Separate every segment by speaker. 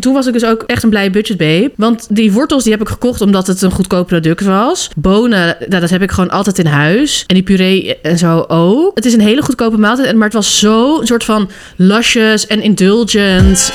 Speaker 1: Toen was ik dus ook echt een blij budgetbabe. Want die wortels die heb ik gekocht omdat het een goedkoop product was. Bonen, nou, dat heb ik gewoon altijd in huis. En die puree en zo ook. Het is een hele goedkope maaltijd. en- Maar het was zo een soort van luscious en indulgent.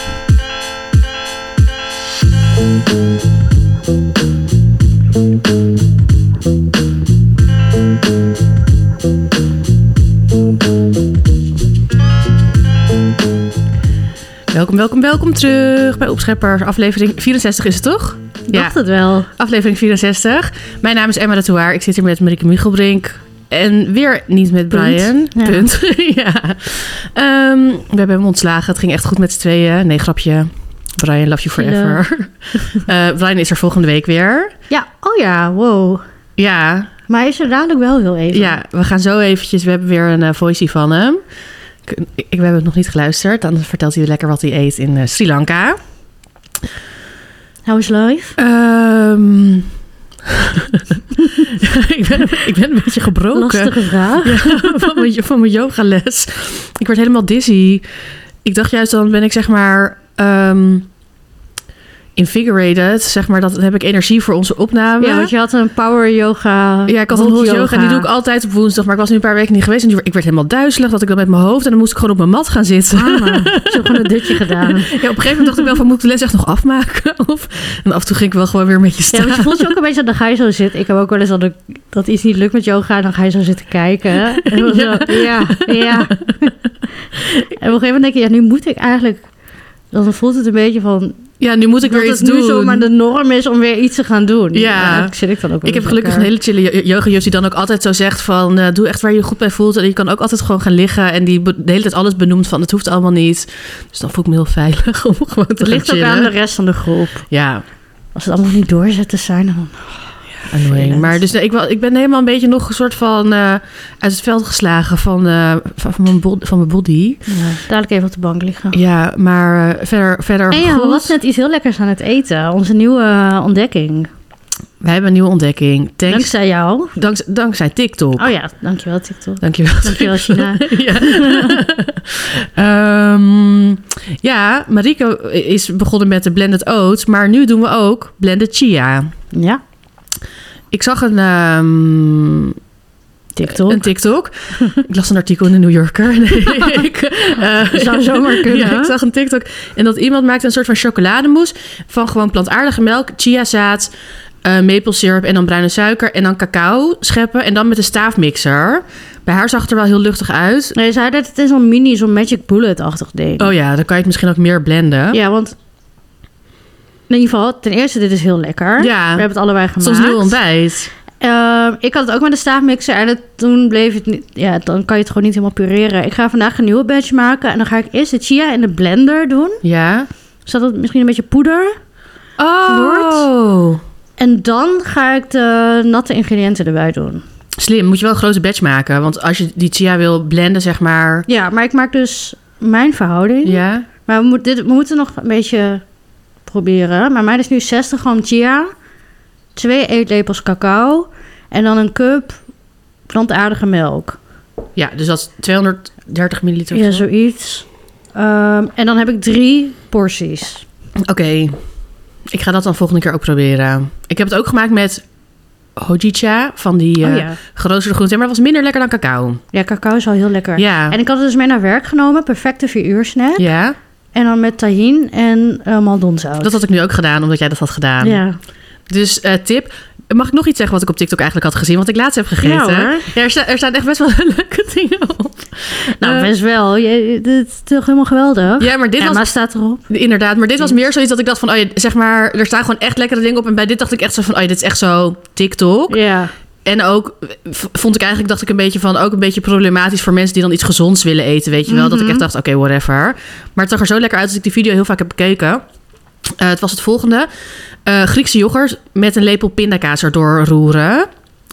Speaker 1: Welkom, welkom, welkom terug bij Opscheppers. Aflevering 64 is het toch?
Speaker 2: Dacht het wel.
Speaker 1: Aflevering 64. Mijn naam is Emma de Touaar. Ik zit hier met Marieke Michelbrink. En weer niet met Brian.
Speaker 2: Ja.
Speaker 1: Punt. ja. Ehm, we hebben hem ontslagen. Het ging echt goed met z'n tweeën. Nee, grapje. Brian, love you forever. Eh, Brian is er volgende week weer.
Speaker 2: Ja, oh ja, wow.
Speaker 1: Ja,
Speaker 2: Maar hij is er dadelijk wel heel even.
Speaker 1: ja, we gaan zo eventjes. We hebben weer een eh, voice van hem. Ik, ik, we hebben het nog niet geluisterd. Dan vertelt hij lekker wat hij eet in eh, Sri Lanka.
Speaker 2: How is life?
Speaker 1: Ehm. ik, ben, ik ben een beetje gebroken
Speaker 2: Lastige vraag.
Speaker 1: Ja, van, mijn, van mijn yogales. Ik werd helemaal dizzy. Ik dacht juist dan ben ik zeg maar ehm, invigorated. Zeg maar, dat dan heb ik energie voor onze opname.
Speaker 2: Ja, want je had een power yoga.
Speaker 1: Ja, ik had een hot yoga. Die doe ik altijd op woensdag. Maar ik was nu een paar weken niet geweest. En toen- ik werd helemaal duizelig. Dat ik dan met mijn hoofd. En dan moest ik gewoon op mijn mat gaan zitten.
Speaker 2: Mama, ik heb gewoon een dutje gedaan.
Speaker 1: Ja, op een gegeven moment dacht ik wel van... Moet ik de les echt nog afmaken? Of, en af en toe ging ik wel gewoon weer een beetje
Speaker 2: Ja,
Speaker 1: staan.
Speaker 2: want je voelt je ook een beetje, dan ga je zo zitten. Ik heb ook wel eens dat, ik, dat iets niet lukt met yoga en dan ga je zo zitten kijken. En dan
Speaker 1: Ja.
Speaker 2: zo, ja, ja. En op een gegeven moment denk je, ja, nu moet ik eigenlijk... Dan voelt het een beetje van
Speaker 1: Ja, nu moet ik
Speaker 2: dat
Speaker 1: weer
Speaker 2: het
Speaker 1: iets
Speaker 2: nu
Speaker 1: doen.
Speaker 2: zomaar de norm is om weer iets te gaan doen.
Speaker 1: Ja.
Speaker 2: eigenlijk zit ik dan ook wel
Speaker 1: Ik heb
Speaker 2: eens
Speaker 1: gelukkig een
Speaker 2: lekker.
Speaker 1: hele chille yo- yoga-juf die dan ook altijd zo zegt van... eh, doe echt waar je je goed bij voelt. En je kan ook altijd gewoon gaan liggen. En die be- de hele tijd alles benoemt van het hoeft allemaal niet. Dus dan voel ik me heel veilig om gewoon te
Speaker 2: Het
Speaker 1: gaan
Speaker 2: ligt ook
Speaker 1: chillen.
Speaker 2: aan de rest van de groep.
Speaker 1: Ja,
Speaker 2: Als het allemaal niet doorzetten zijn, dan...
Speaker 1: annoying.
Speaker 2: Vervelend.
Speaker 1: Maar dus, nee, ik, wel- ik ben helemaal een beetje nog een soort van eh, uit het veld geslagen van, eh, van, van mijn, bod- van mijn body.
Speaker 2: Dadelijk even op de bank liggen.
Speaker 1: Ja, maar eh, verder, verder
Speaker 2: En ja,
Speaker 1: goed.
Speaker 2: we was net iets heel lekkers aan het eten. Onze nieuwe eh, ontdekking.
Speaker 1: Wij hebben een nieuwe ontdekking. Thanks, dankzij,
Speaker 2: Dankzij jou.
Speaker 1: dankzij, TikTok.
Speaker 2: Oh ja, dankjewel TikTok.
Speaker 1: Dankjewel.
Speaker 2: Dankjewel China.
Speaker 1: ja. Ehm, ja, Marike is begonnen met de blended oats, maar nu doen we ook blended chia.
Speaker 2: Ja,
Speaker 1: Ik zag een, ehm,
Speaker 2: TikTok.
Speaker 1: een TikTok. ik las een artikel in de New Yorker. Nee, ik, eh,
Speaker 2: Zou zomaar kunnen.
Speaker 1: Ja, ik zag een TikTok. En dat iemand maakte een soort van chocolademousse van gewoon plantaardige melk, chiazaad, eh maplesirup en dan bruine suiker en dan cacao scheppen en dan met een staafmixer. Bij haar zag het er wel heel luchtig uit.
Speaker 2: Nee, zei dat het is een mini, zo'n Magic Bullet-achtig ding.
Speaker 1: Oh ja, dan kan je het misschien ook meer blenden.
Speaker 2: Ja, want... In ieder geval, ten eerste, dit is heel lekker.
Speaker 1: Ja.
Speaker 2: We hebben het allebei
Speaker 1: Het
Speaker 2: gemaakt.
Speaker 1: is ons nieuw ontbijt.
Speaker 2: Ehm, ik had het ook met de staafmixer en het, toen bleef het niet... Ja, dan kan je het gewoon niet helemaal pureren. Ik ga vandaag een nieuwe batch maken en dan ga ik eerst de chia in de blender doen.
Speaker 1: Ja.
Speaker 2: Zodat het misschien een beetje poeder
Speaker 1: Oh.
Speaker 2: En dan ga ik de natte ingrediënten erbij doen.
Speaker 1: Slim, moet je wel een grote batch maken. Want als je die chia wil blenden, zeg maar.
Speaker 2: Ja, maar ik maak dus mijn verhouding.
Speaker 1: Ja.
Speaker 2: Maar we, moet- dit, we moeten nog een beetje proberen. Maar mijn is nu 60 gram chia, 2 eetlepels cacao en dan een cup plantaardige melk.
Speaker 1: Ja, dus dat is 230 milliliter.
Speaker 2: Ja, zoiets. Ehm, en dan heb ik drie porties.
Speaker 1: Oké. Ik ga dat dan volgende keer ook proberen. Ik heb het ook gemaakt met hojicha van die eh
Speaker 2: Oh ja.
Speaker 1: geroosterde groenten. Maar dat was minder lekker dan cacao.
Speaker 2: ja, cacao is al heel lekker.
Speaker 1: Ja.
Speaker 2: En ik had het dus mee naar werk genomen. Perfecte 4 uur snack.
Speaker 1: Ja.
Speaker 2: En dan met tahin en eh maldonzout.
Speaker 1: Dat had ik nu ook gedaan, omdat jij dat had gedaan.
Speaker 2: ja.
Speaker 1: Dus eh, tip. Mag ik nog iets zeggen wat ik op TikTok eigenlijk had gezien? Want ik laatst heb gegeten.
Speaker 2: Ja, hoor.
Speaker 1: er, sta- er staan echt best wel leuke dingen op.
Speaker 2: Nou,
Speaker 1: Eh,
Speaker 2: best wel. Je, dit is toch helemaal geweldig?
Speaker 1: Ja, maar dit
Speaker 2: Emma Mm.
Speaker 1: was
Speaker 2: staat erop.
Speaker 1: Inderdaad, maar dit was meer zoiets dat ik dacht van, oh ja, zeg maar, er staan gewoon echt lekkere dingen op. En bij dit dacht ik echt zo van, oh ja, dit is echt zo TikTok.
Speaker 2: Ja.
Speaker 1: En ook v- vond ik eigenlijk, dacht ik een beetje van, ook een beetje problematisch voor mensen die dan iets gezonds willen eten, weet je wel. Dat ik
Speaker 2: Mhm.
Speaker 1: echt dacht, oké, whatever. Maar het zag er zo lekker uit dat ik die video heel vaak heb bekeken. Eh, het was het volgende. Eh, Griekse yoghurt met een lepel pindakaas erdoor roeren.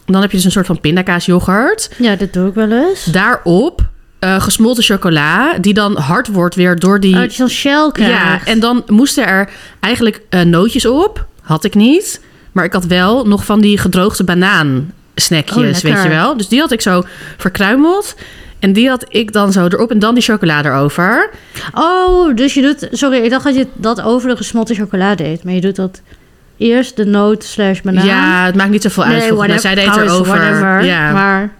Speaker 1: Dan heb je dus een soort van pindakaasjoghurt.
Speaker 2: ja, dat doe ik wel eens.
Speaker 1: Daarop eh, gesmolten chocola, die dan hard wordt weer door die...
Speaker 2: Oh, dat je zo'n shell
Speaker 1: Ja,
Speaker 2: krijgt.
Speaker 1: en dan moesten er eigenlijk eh, nootjes op. Had ik niet. Maar ik had wel nog van die gedroogde banaan
Speaker 2: Oh,
Speaker 1: snackjes,
Speaker 2: lekker.
Speaker 1: weet je wel. Dus die had ik zo verkruimeld. En die had ik dan zo erop en dan die chocolade erover.
Speaker 2: Oh, dus je doet... Sorry, ik dacht dat je dat over de gesmolten chocolade deed. Maar je doet dat eerst de noot slash banaan.
Speaker 1: Ja, het maakt niet zoveel uit. volgens mij. zij deed het
Speaker 2: trouwens,
Speaker 1: erover.
Speaker 2: whatever.
Speaker 1: Ja. Maar...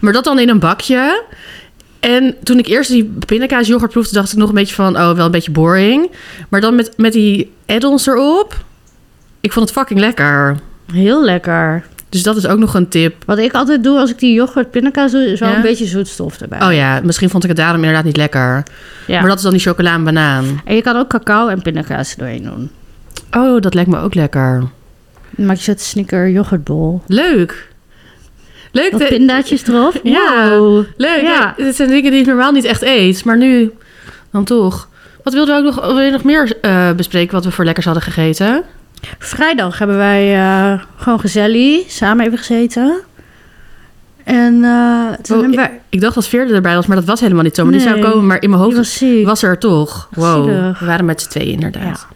Speaker 2: Maar
Speaker 1: dat dan in een bakje. En toen ik eerst die pindakaas yoghurt proefde, dacht ik nog een beetje van, oh, wel een beetje boring. Maar dan met, met die add-ons erop. Ik vond het fucking lekker.
Speaker 2: heel lekker.
Speaker 1: Dus dat is ook nog een tip.
Speaker 2: Wat ik altijd doe als ik die yoghurt pindakaas doe... is wel
Speaker 1: Ja?
Speaker 2: een beetje zoetstof erbij.
Speaker 1: Oh ja, misschien vond ik het daarom inderdaad niet lekker.
Speaker 2: Ja.
Speaker 1: Maar dat is dan die chocola en banaan.
Speaker 2: En je kan ook cacao en pindakaas er doorheen doen.
Speaker 1: Oh, dat lijkt me ook lekker.
Speaker 2: Dan maak je zo'n snicker yoghurtbol.
Speaker 1: Leuk. Leuk.
Speaker 2: Wat
Speaker 1: de-
Speaker 2: pindaatjes erop.
Speaker 1: Ja.
Speaker 2: Wow.
Speaker 1: Leuk. Ja.
Speaker 2: Ja.
Speaker 1: Dit zijn dingen die ik normaal niet echt eet, maar nu dan toch. Wat wilden we ook nog, wil je nog meer eh, bespreken wat we voor lekkers hadden gegeten?
Speaker 2: Vrijdag hebben wij eh, gewoon gezellig samen even gezeten. En eh, toen
Speaker 1: Oh,
Speaker 2: hebben wij...
Speaker 1: Ik dacht dat Veerde erbij was, maar dat was helemaal niet zo. Maar die
Speaker 2: Nee.
Speaker 1: zou komen, maar in mijn
Speaker 2: Die
Speaker 1: hoofd
Speaker 2: was ziek.
Speaker 1: was ze er toch. Wow,
Speaker 2: Zielig.
Speaker 1: we waren met z'n tweeën inderdaad.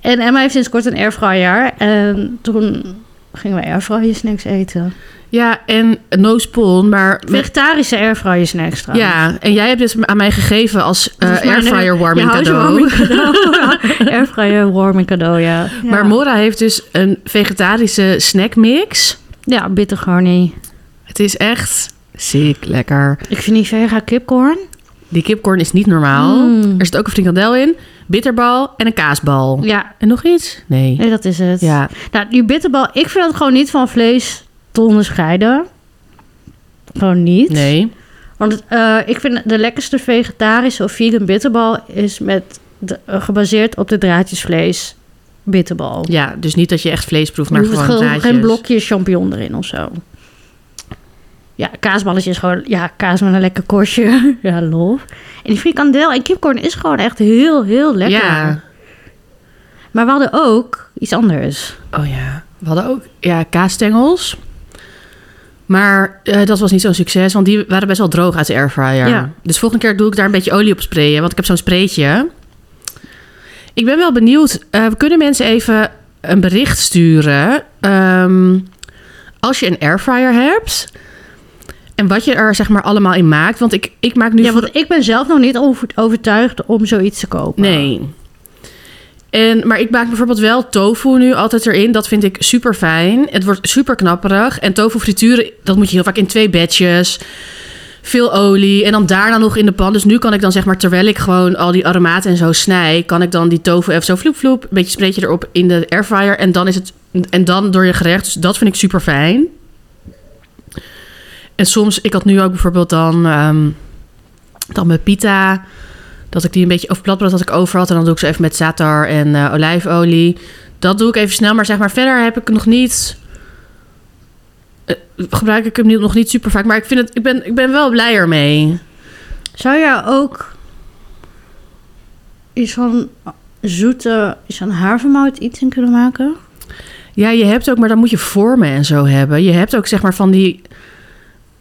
Speaker 2: En Emma heeft sinds kort een airfryer. En toen gingen wij airfryer snacks eten.
Speaker 1: Ja, en no spawn, maar... met-
Speaker 2: Vegetarische airfryer snacks trouwens.
Speaker 1: ja, en jij hebt dit aan mij gegeven als eh,
Speaker 2: Dat is mijn-
Speaker 1: airfryer warming
Speaker 2: Ja,
Speaker 1: cadeau.
Speaker 2: housewarming cadeau. airfryer warming cadeau, ja. ja.
Speaker 1: Maar Mora heeft dus een vegetarische snackmix.
Speaker 2: Ja, bittergarni.
Speaker 1: Het is echt ziek lekker.
Speaker 2: Ik vind die vega kipcorn.
Speaker 1: Die kipcorn is niet normaal.
Speaker 2: Mm.
Speaker 1: Er zit ook een frikandel in, bitterbal en een kaasbal.
Speaker 2: Ja,
Speaker 1: En nog iets? Nee.
Speaker 2: nee, dat is het.
Speaker 1: Ja,
Speaker 2: Nou, die bitterbal, ik vind dat gewoon niet van vlees te onderscheiden. Gewoon niet.
Speaker 1: nee.
Speaker 2: Want eh, ik vind de lekkerste vegetarische of vegan bitterbal is met de- eh, gebaseerd op de draadjesvlees bitterbal.
Speaker 1: Ja, dus niet dat je echt vlees proeft, maar
Speaker 2: er hoeft
Speaker 1: gewoon
Speaker 2: gewoon
Speaker 1: draadjes.
Speaker 2: geen blokje champignon erin of zo. Ja, kaasballetje is gewoon... Ja, kaas met een lekker korstje. ja, lof. En die frikandel en kipcorn is gewoon echt heel, heel lekker.
Speaker 1: Ja.
Speaker 2: Maar we hadden ook iets anders.
Speaker 1: Oh ja. We hadden ook ja, kaasstengels. Maar eh, dat was niet zo'n succes, want die waren best wel droog uit de airfryer.
Speaker 2: Ja.
Speaker 1: Dus volgende keer doe ik daar een beetje olie op sprayen, want ik heb zo'n spreetje. Ik ben wel benieuwd. eh, we kunnen mensen even een bericht sturen. ehm, als je een airfryer hebt. En wat je er zeg maar allemaal in maakt. Want ik, ik maak nu
Speaker 2: ja,
Speaker 1: voor-
Speaker 2: want ik ben zelf nog niet over- overtuigd om zoiets te kopen.
Speaker 1: Nee. En, maar ik maak bijvoorbeeld wel tofu nu altijd erin. Dat vind ik super fijn. Het wordt super knapperig. En tofu frituren, dat moet je heel vaak in twee batches. Veel olie. En dan daarna nog in de pan. Dus nu kan ik dan zeg maar, terwijl ik gewoon al die aromaten en zo snij... kan ik dan die tofu even zo vloep vloep... een beetje spreetje erop in de airfryer. En dan is het... En dan door je gerecht. Dus dat vind ik super fijn. En soms, ik had nu ook bijvoorbeeld dan... ehm, dan mijn pita... Dat ik die een beetje, of platbrood dat ik over had. En dan doe ik ze even met zatar en eh, olijfolie. Dat doe ik even snel. Maar zeg maar, verder heb ik nog niet... eh, gebruik ik hem niet, nog niet super vaak. Maar ik, vind het, ik, ben, ik ben wel blij ermee.
Speaker 2: Zou jij ook iets van zoete, iets van havermout iets in kunnen maken?
Speaker 1: Ja, je hebt ook, maar dan moet je vormen en zo hebben. Je hebt ook zeg maar van die...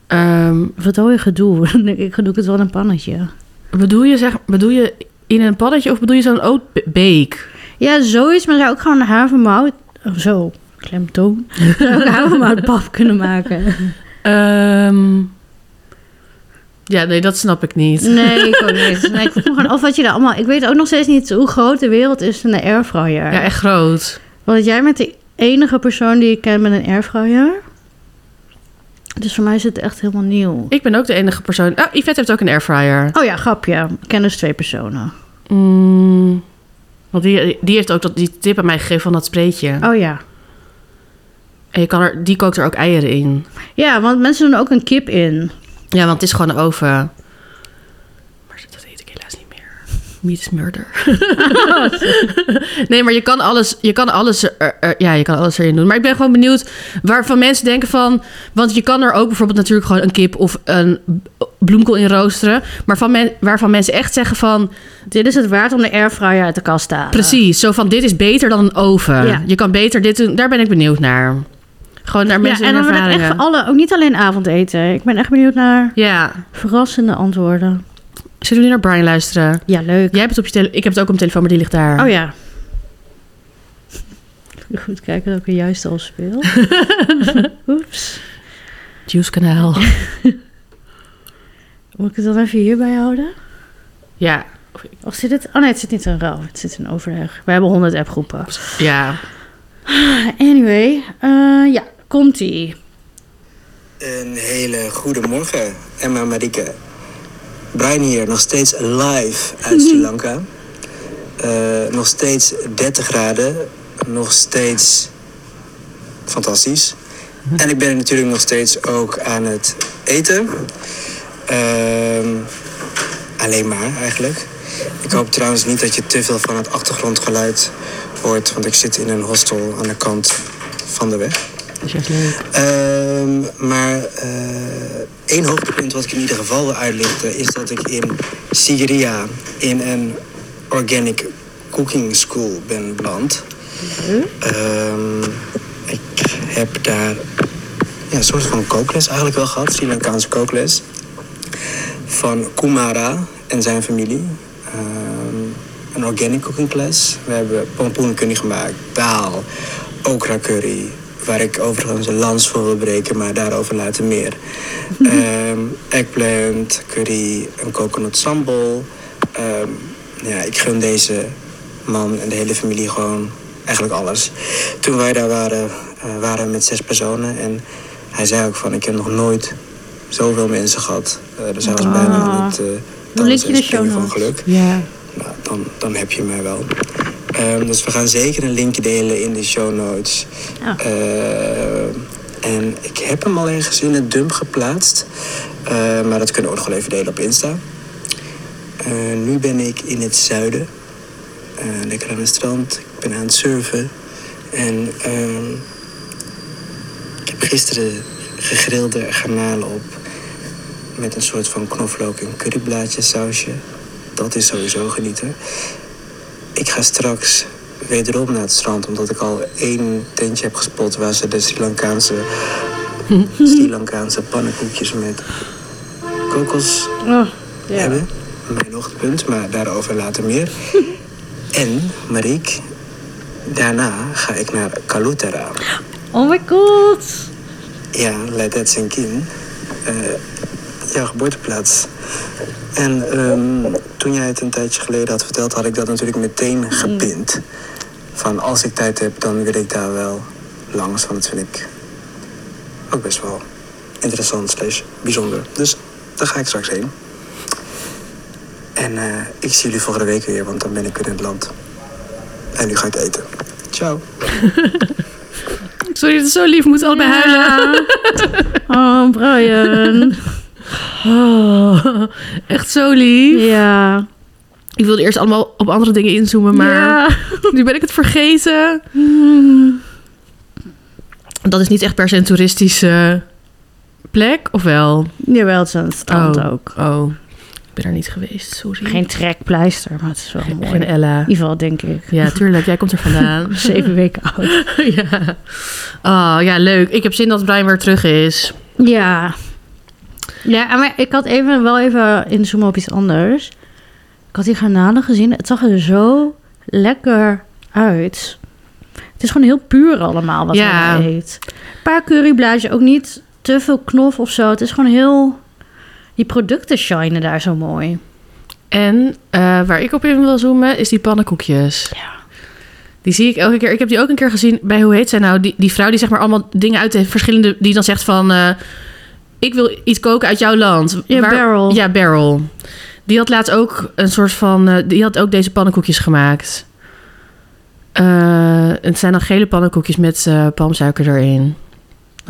Speaker 1: ehm,
Speaker 2: Wat hoor je gedoe? Dan denk ik, doe ik het wel in een pannetje.
Speaker 1: bedoel, je, zeg, bedoel je in een pannetje of bedoel je zo'n oatbake?
Speaker 2: Ja, zoiets, maar zou ook gewoon een havermout... Oh, zo, klemtoon. Zou ik havermoutpap kunnen maken?
Speaker 1: Ehm, ja, nee, dat snap ik niet.
Speaker 2: Nee, ik ook niet. Nee, ik vroeg gewoon of wat je daar allemaal... Ik weet ook nog steeds niet hoe groot de wereld is van de airfryer.
Speaker 1: Ja, echt groot.
Speaker 2: Want jij bent de enige persoon die ik ken met een airfryer. Dus voor mij is het echt helemaal nieuw.
Speaker 1: Ik ben ook de enige persoon... Oh, Yvette heeft ook een airfryer.
Speaker 2: Oh ja, grapje. Ik ken dus twee personen.
Speaker 1: Mm, want die, die heeft ook dat, die tip aan mij gegeven van dat spreetje.
Speaker 2: Oh ja.
Speaker 1: En je kan er, die kookt er ook eieren in.
Speaker 2: Ja, want mensen doen ook een kip in.
Speaker 1: Ja, want het is gewoon een oven. Maar dat eet ik helaas niet meer. Meat is murder. nee, maar je kan alles, je kan alles, er- er- ja, je kan alles erin doen. Maar ik ben gewoon benieuwd waarvan mensen denken van... Want je kan er ook bijvoorbeeld natuurlijk gewoon een kip of een b- bloemkool in roosteren. Maar van men, waarvan mensen echt zeggen van...
Speaker 2: Dit is het waard om de airfryer uit de kast te halen.
Speaker 1: Precies, zo van dit is beter dan een oven.
Speaker 2: Ah. Ja.
Speaker 1: Je kan beter dit doen. Daar ben ik benieuwd naar. Gewoon naar
Speaker 2: Ja,
Speaker 1: mensen
Speaker 2: en
Speaker 1: hun
Speaker 2: dan wil ik
Speaker 1: ervaringen.
Speaker 2: echt voor alle, ook niet alleen avondeten. Ik ben echt benieuwd naar
Speaker 1: Ja,
Speaker 2: verrassende antwoorden.
Speaker 1: zullen we nu naar Brian luisteren?
Speaker 2: Ja, leuk.
Speaker 1: Jij hebt het op je tele- ik heb het ook op mijn telefoon, maar die ligt daar.
Speaker 2: Oh ja. Goed kijken dat ik er juist al speel. Oeps.
Speaker 1: Juice kanaal.
Speaker 2: Moet ik het dan even hierbij houden?
Speaker 1: Ja,
Speaker 2: Of zit het... Oh nee, het zit niet in ruil. Het zit in overleg. We hebben 100 appgroepen.
Speaker 1: ja.
Speaker 2: Anyway, eh, ja, komt-ie.
Speaker 3: Een hele goede morgen, Emma en Marike. Brian hier, nog steeds live uit Sri Lanka. Eh, nog steeds 30 graden, nog steeds fantastisch. En ik ben natuurlijk nog steeds ook aan het eten. Ehm, alleen maar eigenlijk. Ik hoop trouwens niet dat je te veel van het achtergrondgeluid hoort, want ik zit in een hostel aan de kant van de weg.
Speaker 1: Dat is juist leuk.
Speaker 3: Ehm, maar eh, één hoogtepunt wat ik in ieder geval wil uitlichten is dat ik in Sigiriya in een organic cooking school ben beland. Ehm, ik heb daar ja, een soort van kookles eigenlijk wel gehad, Sri Lankaanse kookles. Van Kumara en zijn familie. Ehm, een organic cooking class. We hebben pompoen curry gemaakt, daal, okra curry. Waar ik overigens een lans voor wil breken, maar daarover later meer. Ehm, eggplant, curry, een coconut sambal. Ehm, ja, ik gun deze man en de hele familie gewoon eigenlijk alles. Toen wij daar waren, eh, waren we met zes personen. En hij zei ook van, ik heb nog nooit zoveel mensen gehad. Eh, dus hij was bijna aan het eh,
Speaker 2: link Ah.
Speaker 3: dansen
Speaker 2: je
Speaker 3: en
Speaker 2: de
Speaker 3: springen
Speaker 2: show
Speaker 3: van
Speaker 2: notes?
Speaker 3: geluk.
Speaker 1: Ja.
Speaker 3: Nou, dan, dan heb je mij wel. Ehm, dus we gaan zeker een linkje delen in de show notes.
Speaker 2: Ja.
Speaker 3: Ehm, en ik heb hem al ergens in het dump geplaatst. Ehm, maar dat kunnen we ook nog wel even delen op Insta. Eh, nu ben ik in het zuiden. Eh, lekker aan het strand. Ik ben aan het surfen. En ehm, ik heb gisteren gegrilde garnalen op. Met een soort van knoflook en curryblaadjes sausje. Dat is sowieso genieten. Ik ga straks wederom naar het strand, omdat ik al één tentje heb gespot waar ze de Sri Lankaanse, Sri Lankaanse pannenkoekjes met kokos
Speaker 2: Oh, ja.
Speaker 3: hebben. Mijn ochtendpunt, maar daarover later meer. en, Mariek, daarna ga ik naar Kalutara.
Speaker 2: Oh my god.
Speaker 3: Ja, Let That Sink In. Eh, jouw geboorteplaats. En ehm, toen jij het een tijdje geleden had verteld, had ik dat natuurlijk meteen gepind. Van als ik tijd heb, dan wil ik daar wel langs. Want dat vind ik ook best wel interessant slash bijzonder. Dus daar ga ik straks heen. En eh, ik zie jullie volgende week weer, want dan ben ik weer in het land. En nu ga ik eten. Ciao.
Speaker 1: Sorry, dat is zo lief. Moet allebei huilen.
Speaker 2: Oh, Brian.
Speaker 1: Oh, echt zo lief.
Speaker 2: ja.
Speaker 1: Ik wilde eerst allemaal op andere dingen inzoomen, maar
Speaker 2: Ja.
Speaker 1: nu ben ik het vergeten.
Speaker 2: Hmm.
Speaker 1: Dat is niet echt per se een toeristische plek, of wel?
Speaker 2: Jawel, het is aan het strand
Speaker 1: Oh.
Speaker 2: ook.
Speaker 1: Oh, ik ben er niet geweest, sorry.
Speaker 2: Geen trekpleister, maar het is wel mooi.
Speaker 1: Geen Ella.
Speaker 2: In ieder geval, denk ik.
Speaker 1: Ja, tuurlijk. Jij komt er vandaan.
Speaker 2: Zeven weken oud.
Speaker 1: ja. Oh, ja, leuk. Ik heb zin dat Brian weer terug is.
Speaker 2: Ja. Ja, maar ik had even, wel even inzoomen op iets anders. Ik had die garnalen gezien. Het zag er zo lekker uit. Het is gewoon heel puur allemaal wat
Speaker 1: Ja.
Speaker 2: hij eet. Een paar curryblaadjes, ook niet te veel knof of zo. Het is gewoon heel... Die producten shinen daar zo mooi.
Speaker 1: En eh, waar ik op in wil zoomen, is die pannenkoekjes.
Speaker 2: Ja.
Speaker 1: Die zie ik elke keer. Ik heb die ook een keer gezien bij hoe heet zij nou? Die, die vrouw die zeg maar allemaal dingen uit de verschillende. die dan zegt van. eh, ik wil iets koken uit jouw land.
Speaker 2: Ja, Barrel.
Speaker 1: Ja, Barrel. Die had laatst ook een soort van. eh, die had ook deze pannenkoekjes gemaakt. Eh, het zijn dan gele pannenkoekjes met eh, palmsuiker erin.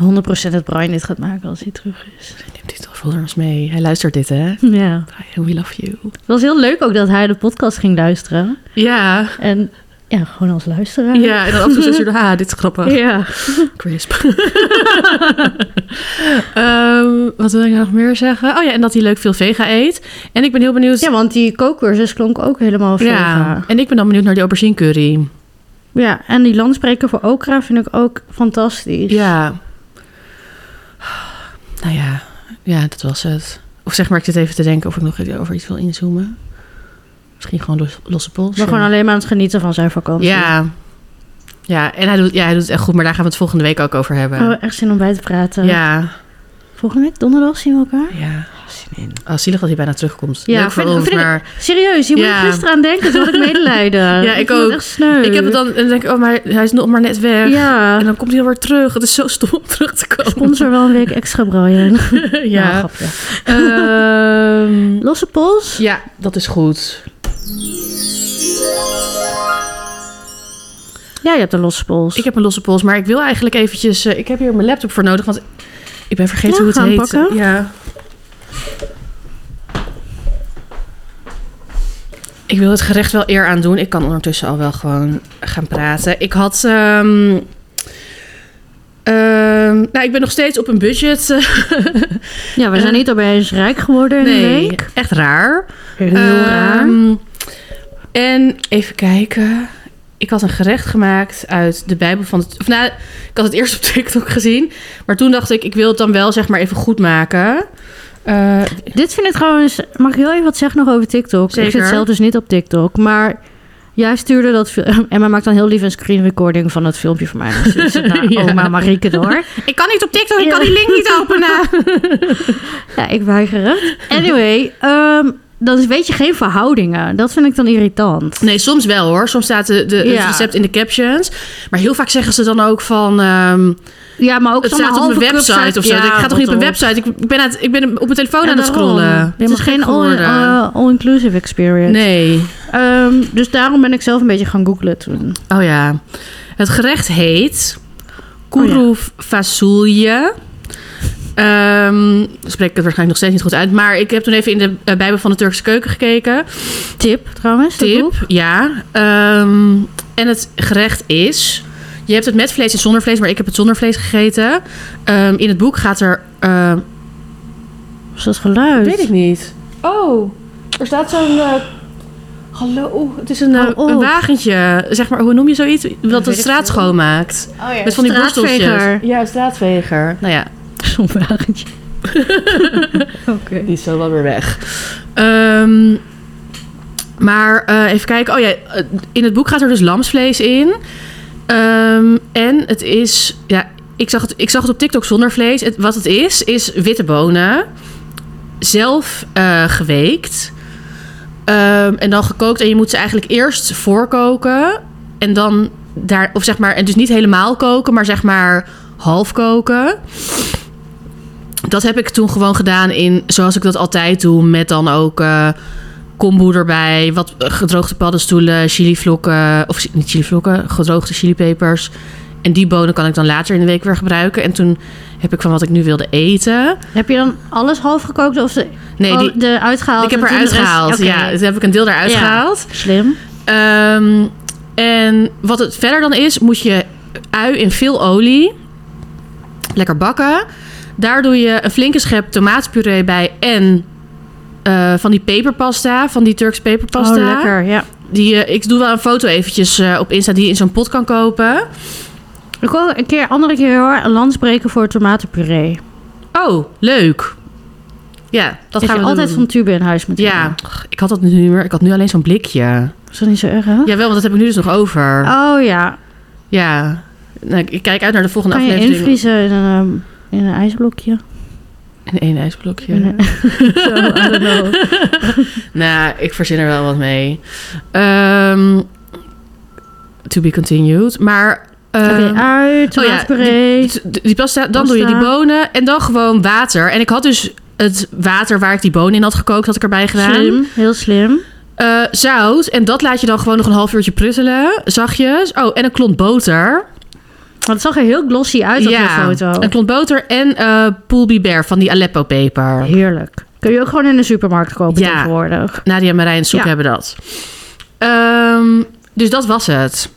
Speaker 2: 100% dat Brian dit gaat maken als hij terug is.
Speaker 1: Hij neemt dit toch voor ons mee. Hij luistert dit, hè?
Speaker 2: Ja.
Speaker 1: Brian, we love you.
Speaker 2: Het was heel leuk ook dat hij de podcast ging luisteren.
Speaker 1: Ja,
Speaker 2: En ja, gewoon als luisteraar.
Speaker 1: ja. En dan af en toe zit ze er, ah, dit is grappig.
Speaker 2: Ja.
Speaker 1: Crisp. Ehm, wat wil ik nou nog meer zeggen? Oh ja, en dat hij leuk veel vega eet. En ik ben heel benieuwd.
Speaker 2: Ja, want die kookcursus klonk ook helemaal vega.
Speaker 1: Ja,
Speaker 2: Ja.
Speaker 1: en ik ben dan benieuwd naar die aubergine curry.
Speaker 2: en die landspreker voor okra vind ik ook fantastisch.
Speaker 1: Ja. Nou ja, ja, dat was het. Of zeg maar, ik zit even te denken of ik nog even over iets wil inzoomen. Misschien gewoon los, losse pols.
Speaker 2: We gewoon alleen maar aan het genieten van zijn vakantie.
Speaker 1: Ja. Ja, en hij doet, ja, hij doet het echt goed, maar daar gaan we het volgende week ook over hebben.
Speaker 2: Oh, echt zin om bij te praten.
Speaker 1: ja.
Speaker 2: Volgende week donderdag zien we elkaar.
Speaker 1: Ja.
Speaker 2: Oh, zin in.
Speaker 1: Ah, zielig dat hij bijna terugkomt.
Speaker 2: Ja,
Speaker 1: Leuk voor
Speaker 2: vind-
Speaker 1: ons,
Speaker 2: vind ik-
Speaker 1: maar...
Speaker 2: Serieus, je moet
Speaker 1: Ja.
Speaker 2: er gisteren aan denken. Toen had ik medelijden.
Speaker 1: ik
Speaker 2: vind het
Speaker 1: ook.
Speaker 2: Echt sneu.
Speaker 1: Ik heb het dan en dan denk ik, oh, maar hij is nog maar net weg.
Speaker 2: Ja.
Speaker 1: En dan komt hij alweer terug. Het is zo stom om terug te komen.
Speaker 2: Sponsor wel een week extra, Brian. Nou,
Speaker 1: ja.
Speaker 2: grapje.
Speaker 1: Ehm,
Speaker 2: Losse pols?
Speaker 1: ja, dat is goed.
Speaker 2: Ja, je hebt een losse pols.
Speaker 1: Ik heb een losse pols, maar ik wil eigenlijk eventjes... eh, ik heb hier mijn laptop voor nodig, want ik ben vergeten
Speaker 2: Ja,
Speaker 1: hoe het
Speaker 2: gaan
Speaker 1: heet.
Speaker 2: pakken.
Speaker 1: Ja. Ik wil het gerecht wel eer aan doen. Ik kan ondertussen al wel gewoon gaan praten. Ik had... ehm, ehm, nou, ik ben nog steeds op een budget. eh,
Speaker 2: Ja, we zijn
Speaker 1: Eh,
Speaker 2: niet opeens rijk geworden in een week.
Speaker 1: echt raar.
Speaker 2: Heel raar.
Speaker 1: Ehm, En even kijken. Ik had een gerecht gemaakt uit de Bijbel van... Het, of nou, ik had het eerst op TikTok gezien. Maar toen dacht ik, ik wil het dan wel zeg maar even goed maken. Eh,
Speaker 2: Dit vind ik trouwens... Mag ik heel even wat zeggen nog over TikTok?
Speaker 1: Zeker.
Speaker 2: Ik zit zelf dus niet op TikTok, maar... Jij stuurde dat... fil- Emma maakt dan heel lief een screen recording van het filmpje van mij. Dus ik zit naar
Speaker 1: Ja.
Speaker 2: oma Marieke door.
Speaker 1: ik kan niet op TikTok, ik
Speaker 2: Ja.
Speaker 1: kan die link niet openen.
Speaker 2: Ja, ik weiger het. Anyway, ehm, dan is- weet je geen verhoudingen. Dat vind ik dan irritant.
Speaker 1: Nee, soms wel hoor. Soms staat de, de, het
Speaker 2: Ja.
Speaker 1: recept in de captions. Maar heel vaak zeggen ze dan ook van... ehm,
Speaker 2: Ja, maar ook
Speaker 1: het
Speaker 2: zo'n
Speaker 1: staat op
Speaker 2: halve
Speaker 1: mijn
Speaker 2: cup
Speaker 1: website
Speaker 2: zaad-
Speaker 1: of zo.
Speaker 2: Ja,
Speaker 1: ik ga toch niet op
Speaker 2: rot
Speaker 1: mijn website? Ik, ik ben, uit, ik ben op mijn telefoon
Speaker 2: Ja,
Speaker 1: aan het
Speaker 2: daarom.
Speaker 1: scrollen.
Speaker 2: Het is geen all-
Speaker 1: geworden.
Speaker 2: eh, all-inclusive experience.
Speaker 1: Nee.
Speaker 2: Ehm, dus daarom ben ik zelf een beetje gaan googlen toen.
Speaker 1: Oh ja. Het gerecht heet
Speaker 2: Oh ja.
Speaker 1: koeroef fasoulje. Ehm, spreek ik het waarschijnlijk nog steeds niet goed uit. Maar ik heb toen even in de eh, Bijbel van de Turkse keuken gekeken.
Speaker 2: Tip trouwens. dat boek.
Speaker 1: Tip, ja. Ehm, en het gerecht is... Je hebt het met vlees en zonder vlees, maar ik heb het zonder vlees gegeten. Ehm, in het boek gaat er... ehm,
Speaker 2: Wat is dat geluid?
Speaker 1: weet ik niet. Oh, er staat zo'n... eh, hallo, oeh, het is een, eh,
Speaker 2: Oh, oh.
Speaker 1: een wagentje. Zeg maar, hoe noem je zoiets? Dat de
Speaker 2: weet ik
Speaker 1: straat
Speaker 2: veel.
Speaker 1: schoonmaakt.
Speaker 2: Oh, ja.
Speaker 1: Met van die borsteltjes.
Speaker 2: Straatveger.
Speaker 1: Ja, een straatveger. Nou ja,
Speaker 2: Zo'n wagentje. Oké.
Speaker 1: die is zo wel weer weg. Ehm, maar eh, even kijken. Oh ja, eh, in het boek gaat er dus lamsvlees in. Ehm, en het is... Ja, ik zag het, ik zag het op TikTok zonder vlees. Het- wat het is, is witte bonen. Zelf eh, geweekt. Ehm, en dan gekookt. En je moet ze eigenlijk eerst voorkoken. En dan daar... Of zeg maar... En dus niet helemaal koken, maar zeg maar half koken. Dat heb ik toen gewoon gedaan in... Zoals ik dat altijd doe. Met dan ook... eh kombu erbij, wat eh, gedroogde paddenstoelen, chilivlokken, of chi- niet chilivlokken, gedroogde chilipepers. En die bonen kan ik dan later in de week weer gebruiken. En toen heb ik van wat ik nu wilde eten.
Speaker 2: Heb je dan alles half gekookt of de,
Speaker 1: Nee,
Speaker 2: oh,
Speaker 1: die,
Speaker 2: de uitgehaald?
Speaker 1: ik heb
Speaker 2: en toen de
Speaker 1: eruit
Speaker 2: rest-
Speaker 1: gehaald.
Speaker 2: Oké.
Speaker 1: Ja, dus heb ik een deel eruit
Speaker 2: Ja.
Speaker 1: gehaald.
Speaker 2: Slim.
Speaker 1: Ehm, en wat het verder dan is, moet je ui in veel olie lekker bakken. Daar doe je een flinke schep tomaatpuree bij en eh, van die peperpasta, van die Turks peperpasta.
Speaker 2: Oh, lekker. Ja.
Speaker 1: Die, eh, ik doe wel een foto eventjes eh, op Insta die je in zo'n pot kan kopen.
Speaker 2: Ik wil een keer, andere keer hoor, een lans breken voor tomatenpuree.
Speaker 1: Oh, leuk. Ja, dat
Speaker 2: Dat
Speaker 1: gaan
Speaker 2: je
Speaker 1: we
Speaker 2: altijd
Speaker 1: doen.
Speaker 2: van tube in huis moet
Speaker 1: Ja,
Speaker 2: hebben.
Speaker 1: Ach, ik had dat nu niet meer. Ik had nu alleen zo'n blikje.
Speaker 2: Is dat niet zo erg, hè?
Speaker 1: Jawel, want dat heb ik nu dus nog over.
Speaker 2: Oh ja.
Speaker 1: Ja. Nou, ik- ik kijk uit naar de volgende
Speaker 2: Kan je
Speaker 1: aflevering.
Speaker 2: invriezen in een, ehm, in een ijsblokje?
Speaker 1: In één ijsblokje.
Speaker 2: In een- Zo, I don't know.
Speaker 1: Nou, ik verzin er wel wat mee. Ehm, to be continued. Maar... ehm,
Speaker 2: Oké, uit,
Speaker 1: oh ja,
Speaker 2: tomatenpuree.
Speaker 1: Die- Die pasta, dan doe je die
Speaker 2: Pasta.
Speaker 1: bonen en dan gewoon water. En ik had dus het water waar ik die bonen in had gekookt, had ik erbij gedaan.
Speaker 2: Slim, heel slim.
Speaker 1: Eh, zout. En dat laat je dan gewoon nog een half uurtje pruttelen, zachtjes. Oh, en een klont boter.
Speaker 2: Want het zag er heel glossy uit op je foto.
Speaker 1: een klont boter en eh poelbiber van die Aleppo-peper.
Speaker 2: Heerlijk. Kun je ook gewoon in de supermarkt kopen
Speaker 1: Ja.
Speaker 2: tegenwoordig.
Speaker 1: Nadia en Marijn Soek
Speaker 2: Ja.
Speaker 1: hebben dat. Ehm, dus dat was het.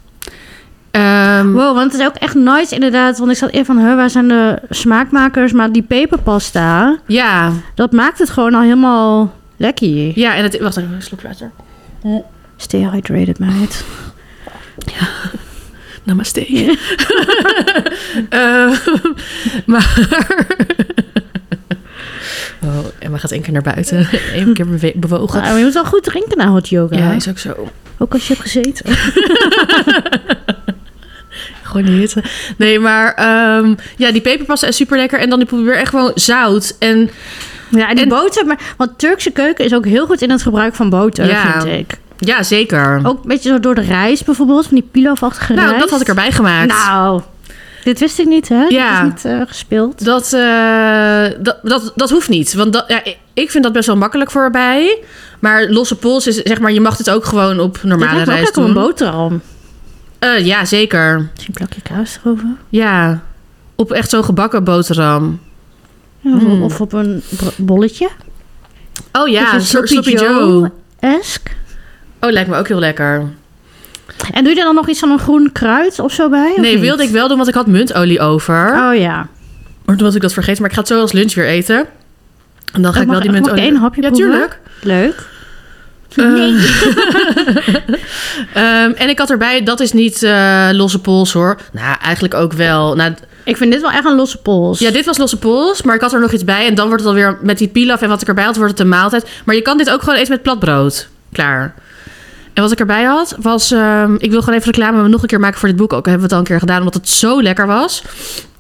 Speaker 1: Ehm,
Speaker 2: Wow, want het is ook echt nice inderdaad. Want ik zat eerder van, huh, waar zijn de smaakmakers? Maar die peperpasta,
Speaker 1: ja.
Speaker 2: dat maakt het gewoon al helemaal lekker.
Speaker 1: ja, en het... Wacht even, een slok water.
Speaker 2: Stay hydrated, meid.
Speaker 1: Namaste. Eh, maar... oh, Emma gaat één keer naar buiten. Eén keer bewe- bewogen.
Speaker 2: Maar je moet wel goed drinken na hot yoga.
Speaker 1: Ja, is ook zo.
Speaker 2: Ook als je hebt gezeten.
Speaker 1: Gewoon gewoon die hitte. Nee, maar ehm, ja, die peperpasta is super lekker. En dan die probeer echt gewoon zout. En
Speaker 2: Ja, en die
Speaker 1: En-
Speaker 2: boter. Maar, want Turkse keuken is ook heel goed in het gebruik van boter,
Speaker 1: Ja.
Speaker 2: vind ik.
Speaker 1: ja, zeker.
Speaker 2: Ook een beetje zo door de rijst bijvoorbeeld, van die pilafachtige
Speaker 1: nou,
Speaker 2: rijst.
Speaker 1: dat had ik erbij gemaakt.
Speaker 2: Nou, dit wist ik niet, hè?
Speaker 1: Ja.
Speaker 2: Dit is niet eh, gespeeld.
Speaker 1: Dat, eh, dat, dat, dat hoeft niet. Want dat, ja, ik- ik vind dat best wel makkelijk voorbij. Maar losse pols is, zeg maar, je mag dit ook gewoon op
Speaker 2: dit
Speaker 1: normale
Speaker 2: lijkt me ook
Speaker 1: rijst
Speaker 2: lekker op
Speaker 1: doen.
Speaker 2: een boterham.
Speaker 1: Eh, ja, zeker.
Speaker 2: Misschien een plakje kaas erover.
Speaker 1: Ja. Op echt zo'n gebakken boterham.
Speaker 2: Ja,
Speaker 1: Mm.
Speaker 2: Of op een bro- bolletje.
Speaker 1: Oh ja,
Speaker 2: Beetje
Speaker 1: een slop- sloppy Joe.
Speaker 2: Esk.
Speaker 1: Oh, lijkt me ook heel lekker.
Speaker 2: En doe je er dan nog iets van een groen kruid of zo bij? of
Speaker 1: Nee,
Speaker 2: niet?
Speaker 1: wilde ik wel doen, want ik had muntolie over.
Speaker 2: Oh ja.
Speaker 1: Maar toen was ik dat vergeten. Maar ik ga het zo als lunch weer eten. En dan ga
Speaker 2: Oh,
Speaker 1: ik
Speaker 2: mag-
Speaker 1: wel die
Speaker 2: mag
Speaker 1: muntolie...
Speaker 2: ik één hapje
Speaker 1: Ja,
Speaker 2: proeven?
Speaker 1: tuurlijk. Eh.
Speaker 2: Leuk.
Speaker 1: Nee. Ehm, en ik had erbij, dat is niet eh, losse pols hoor. Nou, eigenlijk ook wel. Nou,
Speaker 2: Ik vind dit wel echt een losse pols.
Speaker 1: ja, dit was losse pols, maar ik had er nog iets bij. En dan wordt het alweer met die pilaf en wat ik erbij had, wordt het een maaltijd. Maar je kan dit ook gewoon eten met platbrood. Klaar. En wat ik erbij had, was... ehm, ik wil gewoon even reclame nog een keer maken voor dit boek. Ook hebben we het al een keer gedaan, omdat het zo lekker was.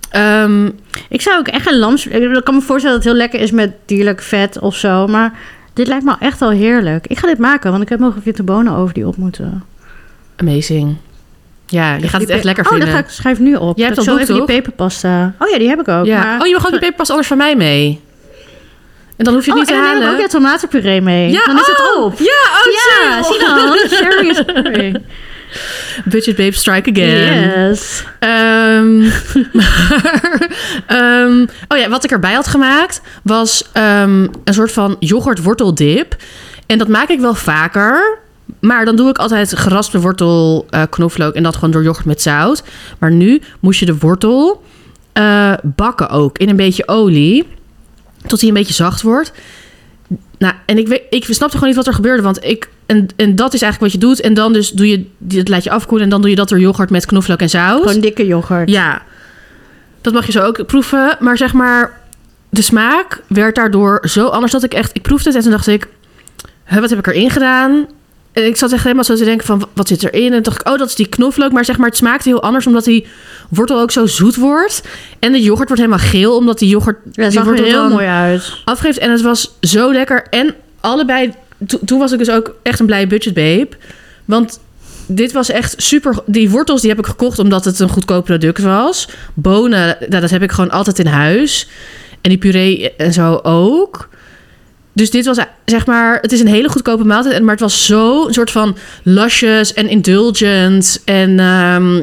Speaker 1: Ehm,
Speaker 2: Ik zou ook echt een lams... Ik kan me voorstellen dat het heel lekker is met dierlijk vet of zo. Maar dit lijkt me echt wel heerlijk. Ik ga dit maken, want ik heb nog witte bonen over die op moeten.
Speaker 1: amazing. Ja, je gaat het echt lekker
Speaker 2: oh,
Speaker 1: vinden.
Speaker 2: dat ga ik schrijf nu op.
Speaker 1: Jij hebt dat
Speaker 2: Dat zo
Speaker 1: boek,
Speaker 2: even
Speaker 1: toch?
Speaker 2: die peperpasta. Oh ja, die heb ik ook.
Speaker 1: ja.
Speaker 2: maar-
Speaker 1: Oh, je mag ook de peperpas anders van mij mee. En dan hoef je het
Speaker 2: Oh,
Speaker 1: niet te
Speaker 2: en dan
Speaker 1: halen.
Speaker 2: heb ik ook de tomatenpuree mee. dan is het
Speaker 1: oh,
Speaker 2: op.
Speaker 1: Ja, oh,
Speaker 2: Ja, zie dan. Sherry is puree.
Speaker 1: Budget babe, strike again.
Speaker 2: Yes.
Speaker 1: Ehm, maar, ehm, oh ja, wat ik erbij had gemaakt was ehm, een soort van yoghurtworteldip. En dat maak ik wel vaker. Maar dan doe ik altijd geraspte wortel, eh, knoflook en dat gewoon door yoghurt met zout. Maar nu moest je de wortel eh, bakken ook in een beetje olie. Tot die een beetje zacht wordt. Nou, en ik, weet, ik snapte gewoon niet wat er gebeurde. Want ik. En, en dat is eigenlijk wat je doet. En dan dus doe je. Dat laat je afkoelen. En dan doe je dat door yoghurt met knoflook en saus.
Speaker 2: Gewoon dikke yoghurt.
Speaker 1: Ja, dat mag je zo ook proeven. Maar zeg maar, de smaak werd daardoor zo anders dat ik echt... Ik proefde het en toen dacht ik, "Huh, wat heb ik erin gedaan? En ik zat echt helemaal zo te denken van, wat zit erin? En toen dacht ik, oh, dat is die knoflook. Maar zeg maar, het smaakte heel anders omdat die wortel ook zo zoet wordt. En de yoghurt wordt helemaal geel omdat die yoghurt...
Speaker 2: Dat
Speaker 1: die
Speaker 2: zag er
Speaker 1: wortel
Speaker 2: heel
Speaker 1: dan
Speaker 2: mooi uit.
Speaker 1: afgeeft. En het was zo lekker. En allebei... to- toen was ik dus ook echt een blij budgetbabe. Want dit was echt super... Die wortels die heb ik gekocht omdat het een goedkoop product was. Bonen, nou, dat heb ik gewoon altijd in huis. En die puree en zo ook. Dus dit was eh, zeg maar... Het is een hele goedkope maaltijd. en- Maar het was zo een soort van luscious en indulgent. En ehm,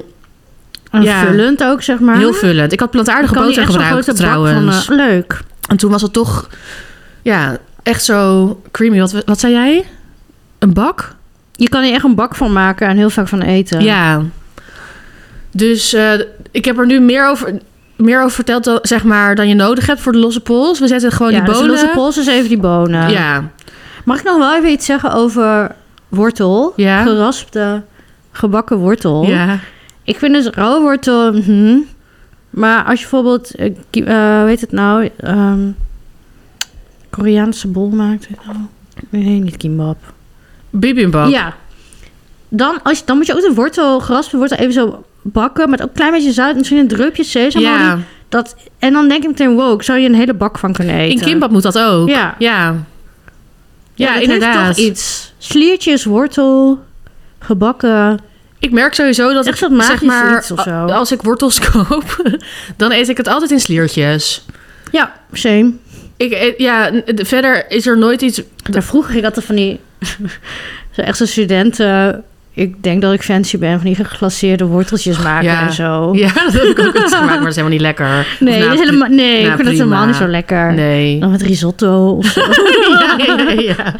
Speaker 2: En
Speaker 1: Ja.
Speaker 2: vullend ook, zeg maar.
Speaker 1: heel vullend. Ik had
Speaker 2: Je
Speaker 1: plantaardige
Speaker 2: kan die
Speaker 1: boter
Speaker 2: echt zo'n
Speaker 1: gebruikt
Speaker 2: grote bak
Speaker 1: trouwens.
Speaker 2: van, eh, leuk.
Speaker 1: En toen was het toch, ja, echt zo creamy. Wat, wat zei jij? Een bak?
Speaker 2: Je kan hier echt een bak van maken en heel vaak van eten.
Speaker 1: Ja. Dus eh, ik heb er nu meer over, meer over verteld, dan- zeg maar, dan je nodig hebt voor de losse pols. We zetten gewoon
Speaker 2: Ja,
Speaker 1: die
Speaker 2: dus
Speaker 1: bonen.
Speaker 2: de losse pols is even die bonen.
Speaker 1: Ja.
Speaker 2: Mag ik nog wel even iets zeggen over wortel?
Speaker 1: Ja.
Speaker 2: Geraspte, gebakken wortel.
Speaker 1: ja.
Speaker 2: Ik vind dus rauwe wortel... mhm. Maar als je bijvoorbeeld... eh, ki- eh, hoe heet het nou? Ehm, Koreaanse bol maakt. weet je wel. Nee, niet kimbap.
Speaker 1: Bibimbap.
Speaker 2: Ja. Dan, als je, dan moet je ook de wortel, geraspte wortel even zo bakken. Met ook een klein beetje zout. Misschien een drupje sesam.
Speaker 1: Ja.
Speaker 2: Dat, en dan denk ik meteen, wow, ik zou je een hele bak van kunnen eten.
Speaker 1: In kimbap moet dat ook.
Speaker 2: Ja.
Speaker 1: Ja, ja,
Speaker 2: dat heeft
Speaker 1: inderdaad.
Speaker 2: toch iets. Sliertjes, wortel, gebakken.
Speaker 1: Ik merk sowieso dat
Speaker 2: Echt
Speaker 1: ik,
Speaker 2: dat
Speaker 1: zeg
Speaker 2: magisch
Speaker 1: maar,
Speaker 2: iets of zo.
Speaker 1: als ik wortels koop, dan eet ik het altijd in sliertjes.
Speaker 2: Ja, same.
Speaker 1: Ik, eet- ja, n- verder is er nooit iets
Speaker 2: Daar vroeg ik altijd van die... zo echt zo'n studenten... Ik denk dat ik fancy ben van die geglaceerde worteltjes maken
Speaker 1: Oh, Ja.
Speaker 2: en zo.
Speaker 1: Ja, dat heb ik ook eens gemaakt, maar dat is helemaal niet lekker.
Speaker 2: Nee,
Speaker 1: Of na-
Speaker 2: dat is helemaal, nee
Speaker 1: na
Speaker 2: ik vind dat helemaal
Speaker 1: nou, prima.
Speaker 2: niet zo lekker.
Speaker 1: Nee.
Speaker 2: Dan met risotto of zo.
Speaker 1: ja, ja, ja.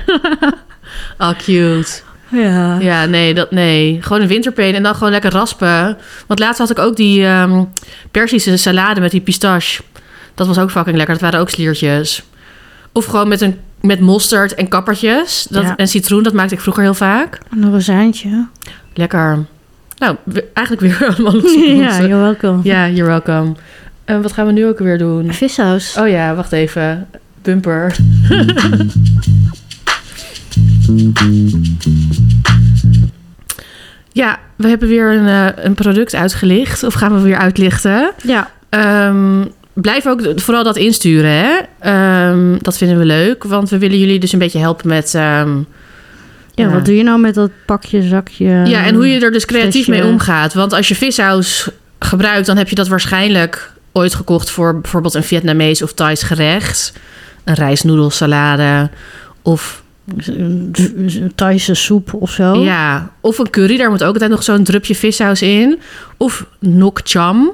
Speaker 1: Oh, cute.
Speaker 2: ja.
Speaker 1: Ja, nee, dat, nee. Gewoon een winterpeen en dan gewoon lekker raspen. Want laatst had ik ook die ehm Persische salade met die pistache. Dat was ook fucking lekker. Dat waren ook sliertjes. Of gewoon met, een, met mosterd en kappertjes. Dat,
Speaker 2: Ja.
Speaker 1: En citroen, dat maakte ik vroeger heel vaak.
Speaker 2: Een rozijntje.
Speaker 1: Lekker. Nou, we- eigenlijk weer allemaal losse
Speaker 2: ja,
Speaker 1: poezen.
Speaker 2: you're welcome.
Speaker 1: Ja, you're welcome. Eh, wat gaan we nu ook weer doen?
Speaker 2: Vissaus.
Speaker 1: Oh ja, wacht even. Bumper. Ja, we hebben weer een, eh, een product uitgelicht. Of gaan we weer uitlichten?
Speaker 2: Ja.
Speaker 1: Ehm, blijf ook vooral dat insturen. Hè? Ehm, dat vinden we leuk. Want we willen jullie dus een beetje helpen met. ehm,
Speaker 2: ja,
Speaker 1: Ja.
Speaker 2: wat doe je nou met dat pakje, zakje?
Speaker 1: ja, en hoe
Speaker 2: Ehm,
Speaker 1: je er dus creatief
Speaker 2: flesje.
Speaker 1: mee omgaat. Want als je vissaus gebruikt, dan heb je dat waarschijnlijk ooit gekocht voor bijvoorbeeld een Vietnamees of Thais gerecht. Een rijstnoedelsalade. Of,
Speaker 2: Een- een Thaise soep of zo.
Speaker 1: ja, of een curry. Daar moet ook altijd nog zo'n drupje vissaus in. Of nok cham.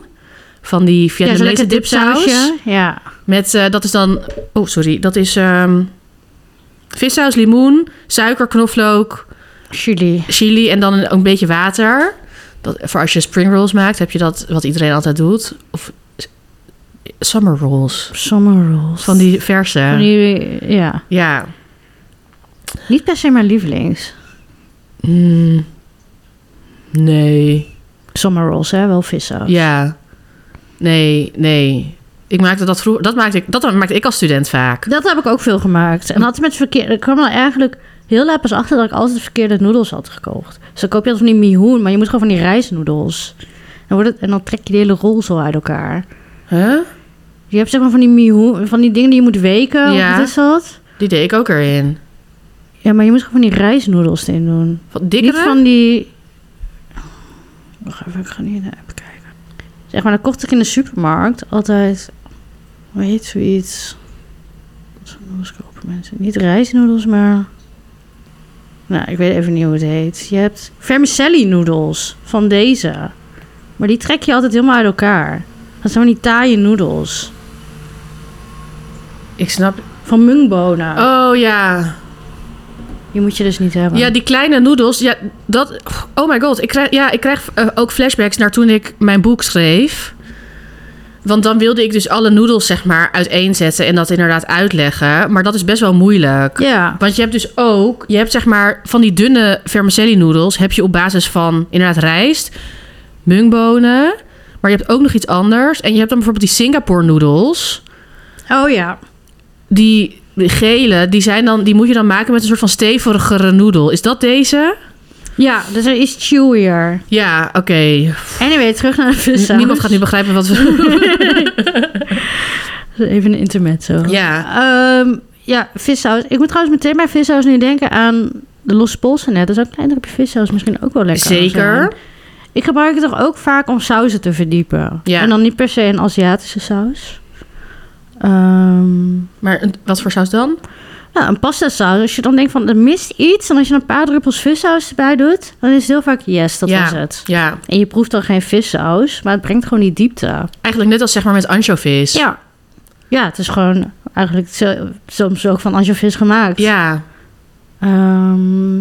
Speaker 1: Van die
Speaker 2: ja zo'n
Speaker 1: Vietnamese
Speaker 2: lekker
Speaker 1: dipsaus.
Speaker 2: dipsausje. Ja.
Speaker 1: Met, eh, dat is dan... Oh, sorry. Dat is ehm vissaus, limoen, suiker, knoflook,
Speaker 2: Chili.
Speaker 1: chili en dan een, een beetje water. Dat, voor als je spring rolls maakt, heb je dat wat iedereen altijd doet. Of s- summer rolls.
Speaker 2: Summer rolls.
Speaker 1: Van die verse.
Speaker 2: Van die- ja.
Speaker 1: Ja.
Speaker 2: Niet per se mijn lievelings. Hmm.
Speaker 1: Mm. Nee.
Speaker 2: Summer rolls, hè? Wel vissaus.
Speaker 1: Ja. Nee, nee. Ik maakte dat vroeger... Dat maakte ik, dat maakte ik als student vaak.
Speaker 2: Dat heb ik ook veel gemaakt. En altijd met verkeerde... Ik kwam er eigenlijk heel laat pas achter dat ik altijd verkeerde noedels had gekocht. Dus dan koop je altijd van die mihoen, maar je moet gewoon van die rijstnoedels. En, wordt het, en dan trek je de hele rol zo uit elkaar.
Speaker 1: Huh?
Speaker 2: Je hebt zeg maar van die mihoen, van die dingen die je moet weken.
Speaker 1: Ja.
Speaker 2: Ja. Wat is dat?
Speaker 1: Die deed ik ook erin.
Speaker 2: Ja, maar je moet gewoon van die rijstnoedels erin doen.
Speaker 1: Wat dikkere?
Speaker 2: Niet van die... Wacht even, ik ga niet naar de app kijken. Zeg maar, dan kocht ik in de supermarkt altijd... Hoe heet zoiets? Wat voor noedels kopen mensen? Niet rijstnoedels, maar... Nou, ik weet even niet hoe het heet. Je hebt vermicelli noedels van deze. Maar die trek je altijd helemaal uit elkaar. Dat zijn van die taaie noedels.
Speaker 1: Ik snap...
Speaker 2: Van mungbonen.
Speaker 1: Oh ja.
Speaker 2: Die moet je dus niet hebben.
Speaker 1: Ja, die kleine noedels. Ja, dat. Oh my god. Ik krijg, ja, ik krijg eh, ook flashbacks naar toen ik mijn boek schreef. Want dan wilde ik dus alle noedels, zeg maar, uiteenzetten en dat inderdaad uitleggen. Maar dat is best wel moeilijk.
Speaker 2: ja.
Speaker 1: Want je hebt dus ook, je hebt zeg maar van die dunne vermicelli noedels, heb je op basis van inderdaad rijst, mungbonen. Maar je hebt ook nog iets anders. En je hebt dan bijvoorbeeld die Singapore noedels.
Speaker 2: Oh ja.
Speaker 1: Die, die gele, die, zijn dan, die moet je dan maken met een soort van stevigere noedel. Is dat deze?
Speaker 2: Ja, dus er is chewier.
Speaker 1: Ja, oké.
Speaker 2: Anyway, terug naar de vissaus.
Speaker 1: Niemand gaat nu begrijpen wat we.
Speaker 2: Even een intermezzo.
Speaker 1: ja.
Speaker 2: Ehm, ja, vissaus. Ik moet trouwens meteen bij vissaus nu denken aan de losse polsen net. Dat is ook een klein drupje vissaus misschien ook wel lekker. aan
Speaker 1: Zeker.
Speaker 2: zijn. Ik gebruik het toch ook vaak om sauzen te verdiepen.
Speaker 1: Ja.
Speaker 2: En dan niet per se een Aziatische saus. Ehm,
Speaker 1: Maar een- wat voor saus dan?
Speaker 2: nou, een pasta saus. Als je dan denkt van er mist iets. En als je een paar druppels vissaus erbij doet. Dan is het heel vaak yes, dat
Speaker 1: ja.
Speaker 2: was het.
Speaker 1: Ja.
Speaker 2: En je proeft dan geen vissaus. Maar het brengt gewoon die diepte.
Speaker 1: Eigenlijk net als zeg maar met anchovies.
Speaker 2: Ja. Ja, het is gewoon eigenlijk zo- soms ook van anchovies gemaakt.
Speaker 1: Ja.
Speaker 2: Ehm,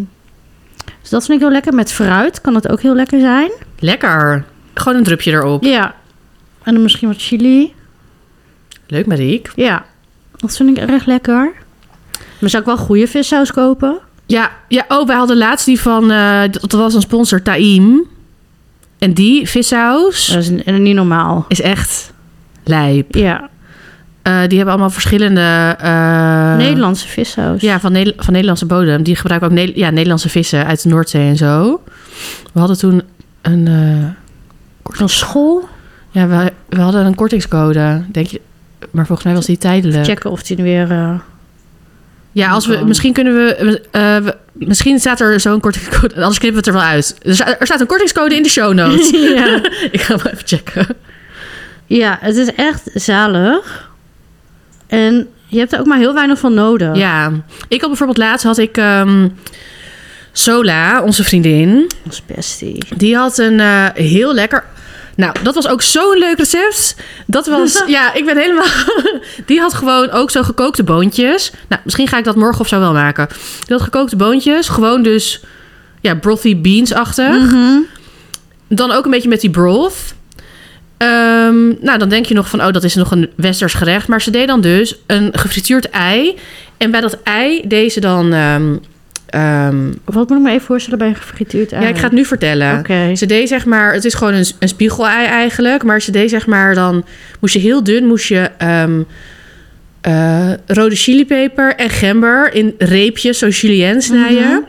Speaker 2: dus dat vind ik heel lekker. Met fruit kan het ook heel lekker zijn.
Speaker 1: Lekker. Gewoon een drupje erop.
Speaker 2: Ja. En dan misschien wat chili.
Speaker 1: Leuk, Mariek.
Speaker 2: Ja. Dat vind ik erg lekker. Maar zou ik wel goede vissaus kopen?
Speaker 1: Ja, ja. Oh, wij hadden laatst die van. eh, dat was een sponsor, Taim. En die vissaus
Speaker 2: Dat is n- niet normaal.
Speaker 1: is echt lijp.
Speaker 2: Ja.
Speaker 1: Eh, die hebben allemaal verschillende. eh,
Speaker 2: Nederlandse vissaus.
Speaker 1: Ja, van, Neder- van Nederlandse bodem. Die gebruiken ook Ne- ja, Nederlandse vissen uit de Noordzee en zo. We hadden toen een. eh,
Speaker 2: Van school.
Speaker 1: Ja, we, we hadden een kortingscode, denk je. Maar volgens mij was die tijdelijk.
Speaker 2: Checken of die weer... eh,
Speaker 1: Ja, als we, misschien kunnen we, eh, we- Misschien staat er zo'n kortingscode. Anders knippen we het er wel uit. Er, sta- er staat een kortingscode in de show notes.
Speaker 2: ja.
Speaker 1: Ik ga hem even checken.
Speaker 2: ja, het is echt zalig. En je hebt er ook maar heel weinig van nodig.
Speaker 1: Ja. Ik had bijvoorbeeld laatst had ik. ehm, Sola, onze vriendin,
Speaker 2: Dat is bestie.
Speaker 1: die had een eh, heel lekker. Nou, dat was ook zo'n leuk recept. Dat was. ja, ik ben helemaal. die had gewoon ook zo gekookte boontjes. Nou, misschien ga ik dat morgen of zo wel maken. Die had gekookte boontjes. Gewoon dus. Ja, brothy beans-achtig.
Speaker 2: Mm. Mhm.
Speaker 1: Dan ook een beetje met die broth. Ehm, nou, dan denk je nog van, oh, dat is nog een westers gerecht. Maar ze deed dan dus een gefrituurd ei. En bij dat ei deed ze dan... ehm, ehm,
Speaker 2: Wat moet ik me even voorstellen bij een gefrituurd ei?
Speaker 1: ja, ik ga het nu vertellen.
Speaker 2: Oké.
Speaker 1: Ze deed zeg maar, het is gewoon een, een spiegelei eigenlijk. Maar ze deed zeg maar dan, moest je heel dun, moest je ehm, eh, rode
Speaker 2: Mhm.
Speaker 1: chilipeper en gember in reepjes, zo julienne snijden.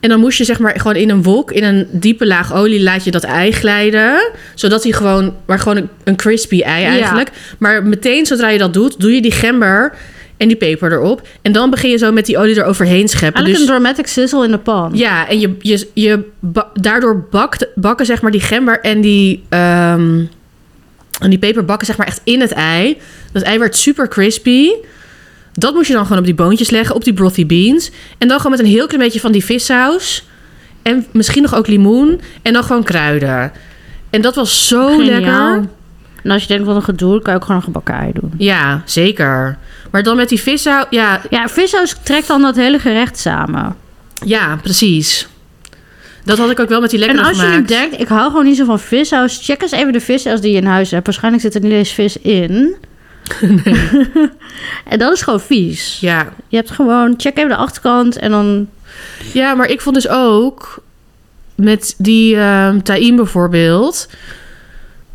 Speaker 1: En dan moest je zeg maar gewoon in een wok, in een diepe laag olie, laat je dat ei glijden. Zodat hij gewoon, maar gewoon een, een crispy ei
Speaker 2: Ja.
Speaker 1: eigenlijk. Maar meteen zodra je dat doet, doe je die gember en die peper erop. En dan begin je zo met die olie eroverheen scheppen.
Speaker 2: Eigenlijk
Speaker 1: Dus-
Speaker 2: een dramatic sizzle in de pan.
Speaker 1: ja, en je, je, je ba- daardoor bakt, bakken zeg maar die gember en die, ehm, en die peper bakken zeg maar echt in het ei. Dat ei werd super crispy. Dat moest je dan gewoon op die boontjes leggen, op die brothy beans. En dan gewoon met een heel klein beetje van die vissaus. En misschien nog ook limoen. En dan gewoon kruiden. En dat was zo
Speaker 2: Geniaal.
Speaker 1: lekker.
Speaker 2: En als je denkt, wat een gedoe, kan je ook gewoon een gebakken ei doen.
Speaker 1: Ja, zeker. Maar dan met die vissaus... Ja,
Speaker 2: Ja, vissaus trekt dan dat hele gerecht samen.
Speaker 1: ja, precies. Dat had ik ook wel met die lekkere
Speaker 2: en als je nu
Speaker 1: gemaakt.
Speaker 2: denkt, ik hou gewoon niet zo van vissaus, check eens even de vissaus die je in huis hebt. Waarschijnlijk zit er niet eens vis in. en dat is gewoon vies.
Speaker 1: Ja,
Speaker 2: Je hebt gewoon, check even de achterkant en dan...
Speaker 1: Ja, maar ik vond dus ook met die ehm taïm bijvoorbeeld.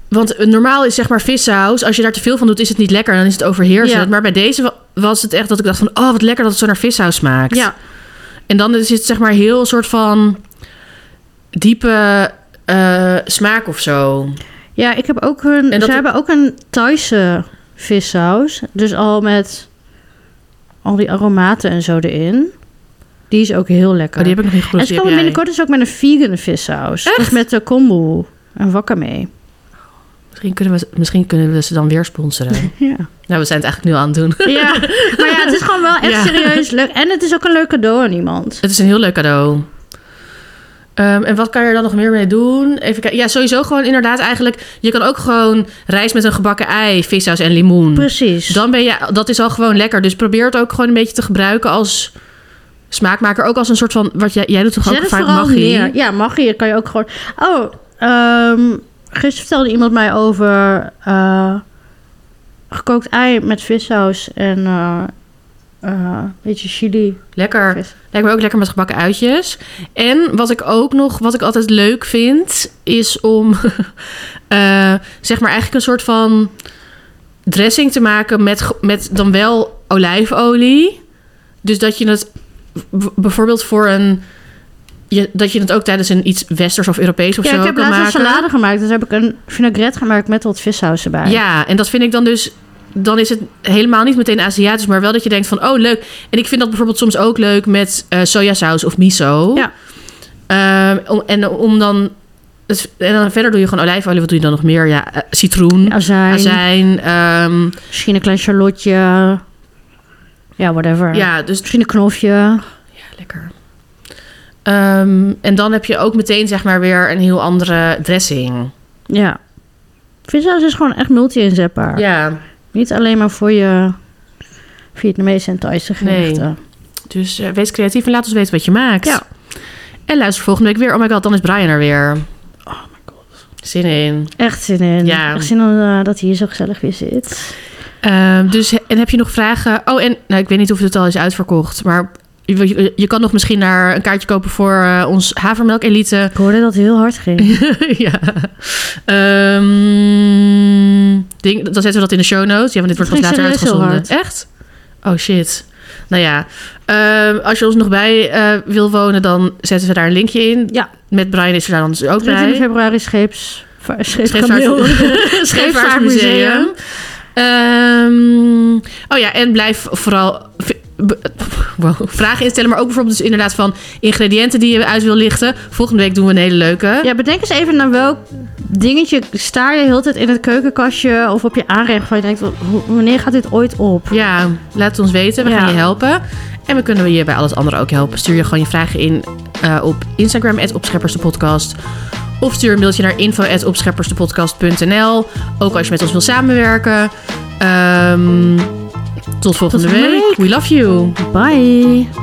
Speaker 1: Want eh, normaal is zeg maar vissaus, als je daar te veel van doet, is het niet lekker. Dan is het overheersend.
Speaker 2: Ja.
Speaker 1: Maar bij deze wa- was het echt dat ik dacht van, oh wat lekker dat het zo naar vissaus smaakt. En dan is het zeg maar heel een soort van diepe eh, smaak of zo.
Speaker 2: Ja, ik heb ook een...
Speaker 1: En dat-
Speaker 2: Ze hebben ook een Thaise vissaus. Dus al met al die aromaten en zo erin. Die is ook heel lekker.
Speaker 1: Oh, die heb ik nog niet
Speaker 2: en
Speaker 1: geproefd.
Speaker 2: ze
Speaker 1: die heb
Speaker 2: komen
Speaker 1: jij.
Speaker 2: binnenkort dus ook met een vegan vissaus. Dus met de kombu en wakame.
Speaker 1: Misschien kunnen, we, misschien kunnen we ze dan weer sponsoren.
Speaker 2: Ja.
Speaker 1: nou, we zijn het eigenlijk nu al aan het doen.
Speaker 2: ja. Maar ja, het is gewoon wel echt
Speaker 1: Ja.
Speaker 2: serieus leuk. En het is ook een leuk cadeau aan iemand.
Speaker 1: Het is een heel leuk cadeau. Ehm, en wat kan je er dan nog meer mee doen? Even kijken. Ja, sowieso gewoon inderdaad eigenlijk... Je kan ook gewoon rijst met een gebakken ei, vissaus en limoen.
Speaker 2: Precies.
Speaker 1: Dan ben je, Mm. dat is al gewoon lekker. Dus probeer het ook gewoon een beetje te gebruiken als smaakmaker. Ook als een soort van... Wat jij, jij doet toch
Speaker 2: Zet
Speaker 1: ook
Speaker 2: het
Speaker 1: vaak
Speaker 2: vooral
Speaker 1: magie?
Speaker 2: neer. Ja, magie kan je ook gewoon... Oh, ehm, gisteren vertelde iemand mij over eh, gekookt ei met vissaus en eh, eh, een beetje chili.
Speaker 1: Lekker.
Speaker 2: Vis.
Speaker 1: Lijkt me ook lekker met gebakken uitjes. En wat ik ook nog, wat ik altijd leuk vind, is om eh, zeg maar eigenlijk een soort van dressing te maken met, ge- met dan wel olijfolie. Dus dat je het b- bijvoorbeeld voor een. Je, dat je het ook tijdens een iets westers of Europees of
Speaker 2: Ja,
Speaker 1: zo
Speaker 2: ik heb
Speaker 1: kan
Speaker 2: laatst
Speaker 1: maken.
Speaker 2: een salade gemaakt. Dus heb ik een vinaigrette gemaakt met wat vissaus erbij.
Speaker 1: Ja, en dat vind ik dan dus. Dan is het helemaal niet meteen Aziatisch, maar wel dat je denkt van, oh leuk. En ik vind dat bijvoorbeeld soms ook leuk met eh, sojasaus of miso.
Speaker 2: Ja.
Speaker 1: Ehm, om, en om dan. het- en dan verder doe je gewoon olijfolie. Wat doe je dan nog meer? Ja, eh, citroen,
Speaker 2: Azijn,
Speaker 1: azijn. ehm,
Speaker 2: misschien een klein charlotje. Ja, whatever.
Speaker 1: ja, dus
Speaker 2: Misschien een knofje.
Speaker 1: ja, lekker. Ehm, en dan heb je ook meteen zeg maar weer een heel andere dressing.
Speaker 2: Ja. Vissaus is gewoon echt multi-inzetbaar.
Speaker 1: Ja,
Speaker 2: Niet alleen maar voor je Vietnamese en Thaise
Speaker 1: Nee.
Speaker 2: gerechten.
Speaker 1: dus eh, wees creatief en laat ons weten wat je maakt.
Speaker 2: Ja.
Speaker 1: En luister volgende week weer. Oh my god, dan is Brian er weer. Oh my god. Zin in.
Speaker 2: Echt zin in.
Speaker 1: Ja.
Speaker 2: Echt zin in eh, dat hij hier zo gezellig weer zit.
Speaker 1: Ehm, dus, he- en heb je nog vragen? Oh, en nou, ik weet niet of het al is uitverkocht, maar je, je- je kan nog misschien naar een kaartje kopen voor eh, ons havermelk elite.
Speaker 2: Ik hoorde dat het heel hard ging.
Speaker 1: ja. Ehm, denk, dan zetten we dat in de show notes. Ja, want dit wordt pas
Speaker 2: Het
Speaker 1: later
Speaker 2: ging serieus heel
Speaker 1: uitgezonden. Echt? Oh shit. Nou ja, ehm, als je ons nog bij eh, wil wonen, dan zetten we daar een linkje in.
Speaker 2: Ja.
Speaker 1: Met Brian is er daar dan dus ook
Speaker 2: 23
Speaker 1: bij.
Speaker 2: februari scheeps... Scheepskameel.
Speaker 1: Scheepvaart- Scheepvaartmuseum. Ehm, oh ja, en blijf vooral v- b- wow, vragen instellen. Maar ook bijvoorbeeld dus inderdaad van ingrediënten die je uit wil lichten. Volgende week doen we een hele leuke.
Speaker 2: Ja, bedenk eens even naar welk dingetje sta je de hele tijd in het keukenkastje of op je aanrecht van je denkt, "Hoe- wanneer gaat dit ooit op?
Speaker 1: Ja, laat het ons weten. We
Speaker 2: Ja.
Speaker 1: gaan je helpen. En we kunnen je bij alles andere ook helpen. Stuur je gewoon je vragen in eh, op Instagram, opscheppersdepodcast. Of stuur een mailtje naar info.opscheppersdepodcast.nl. Ook als je met ons wil samenwerken. Ehm, tot volgende
Speaker 2: volgende
Speaker 1: week. We love you.
Speaker 2: Bye!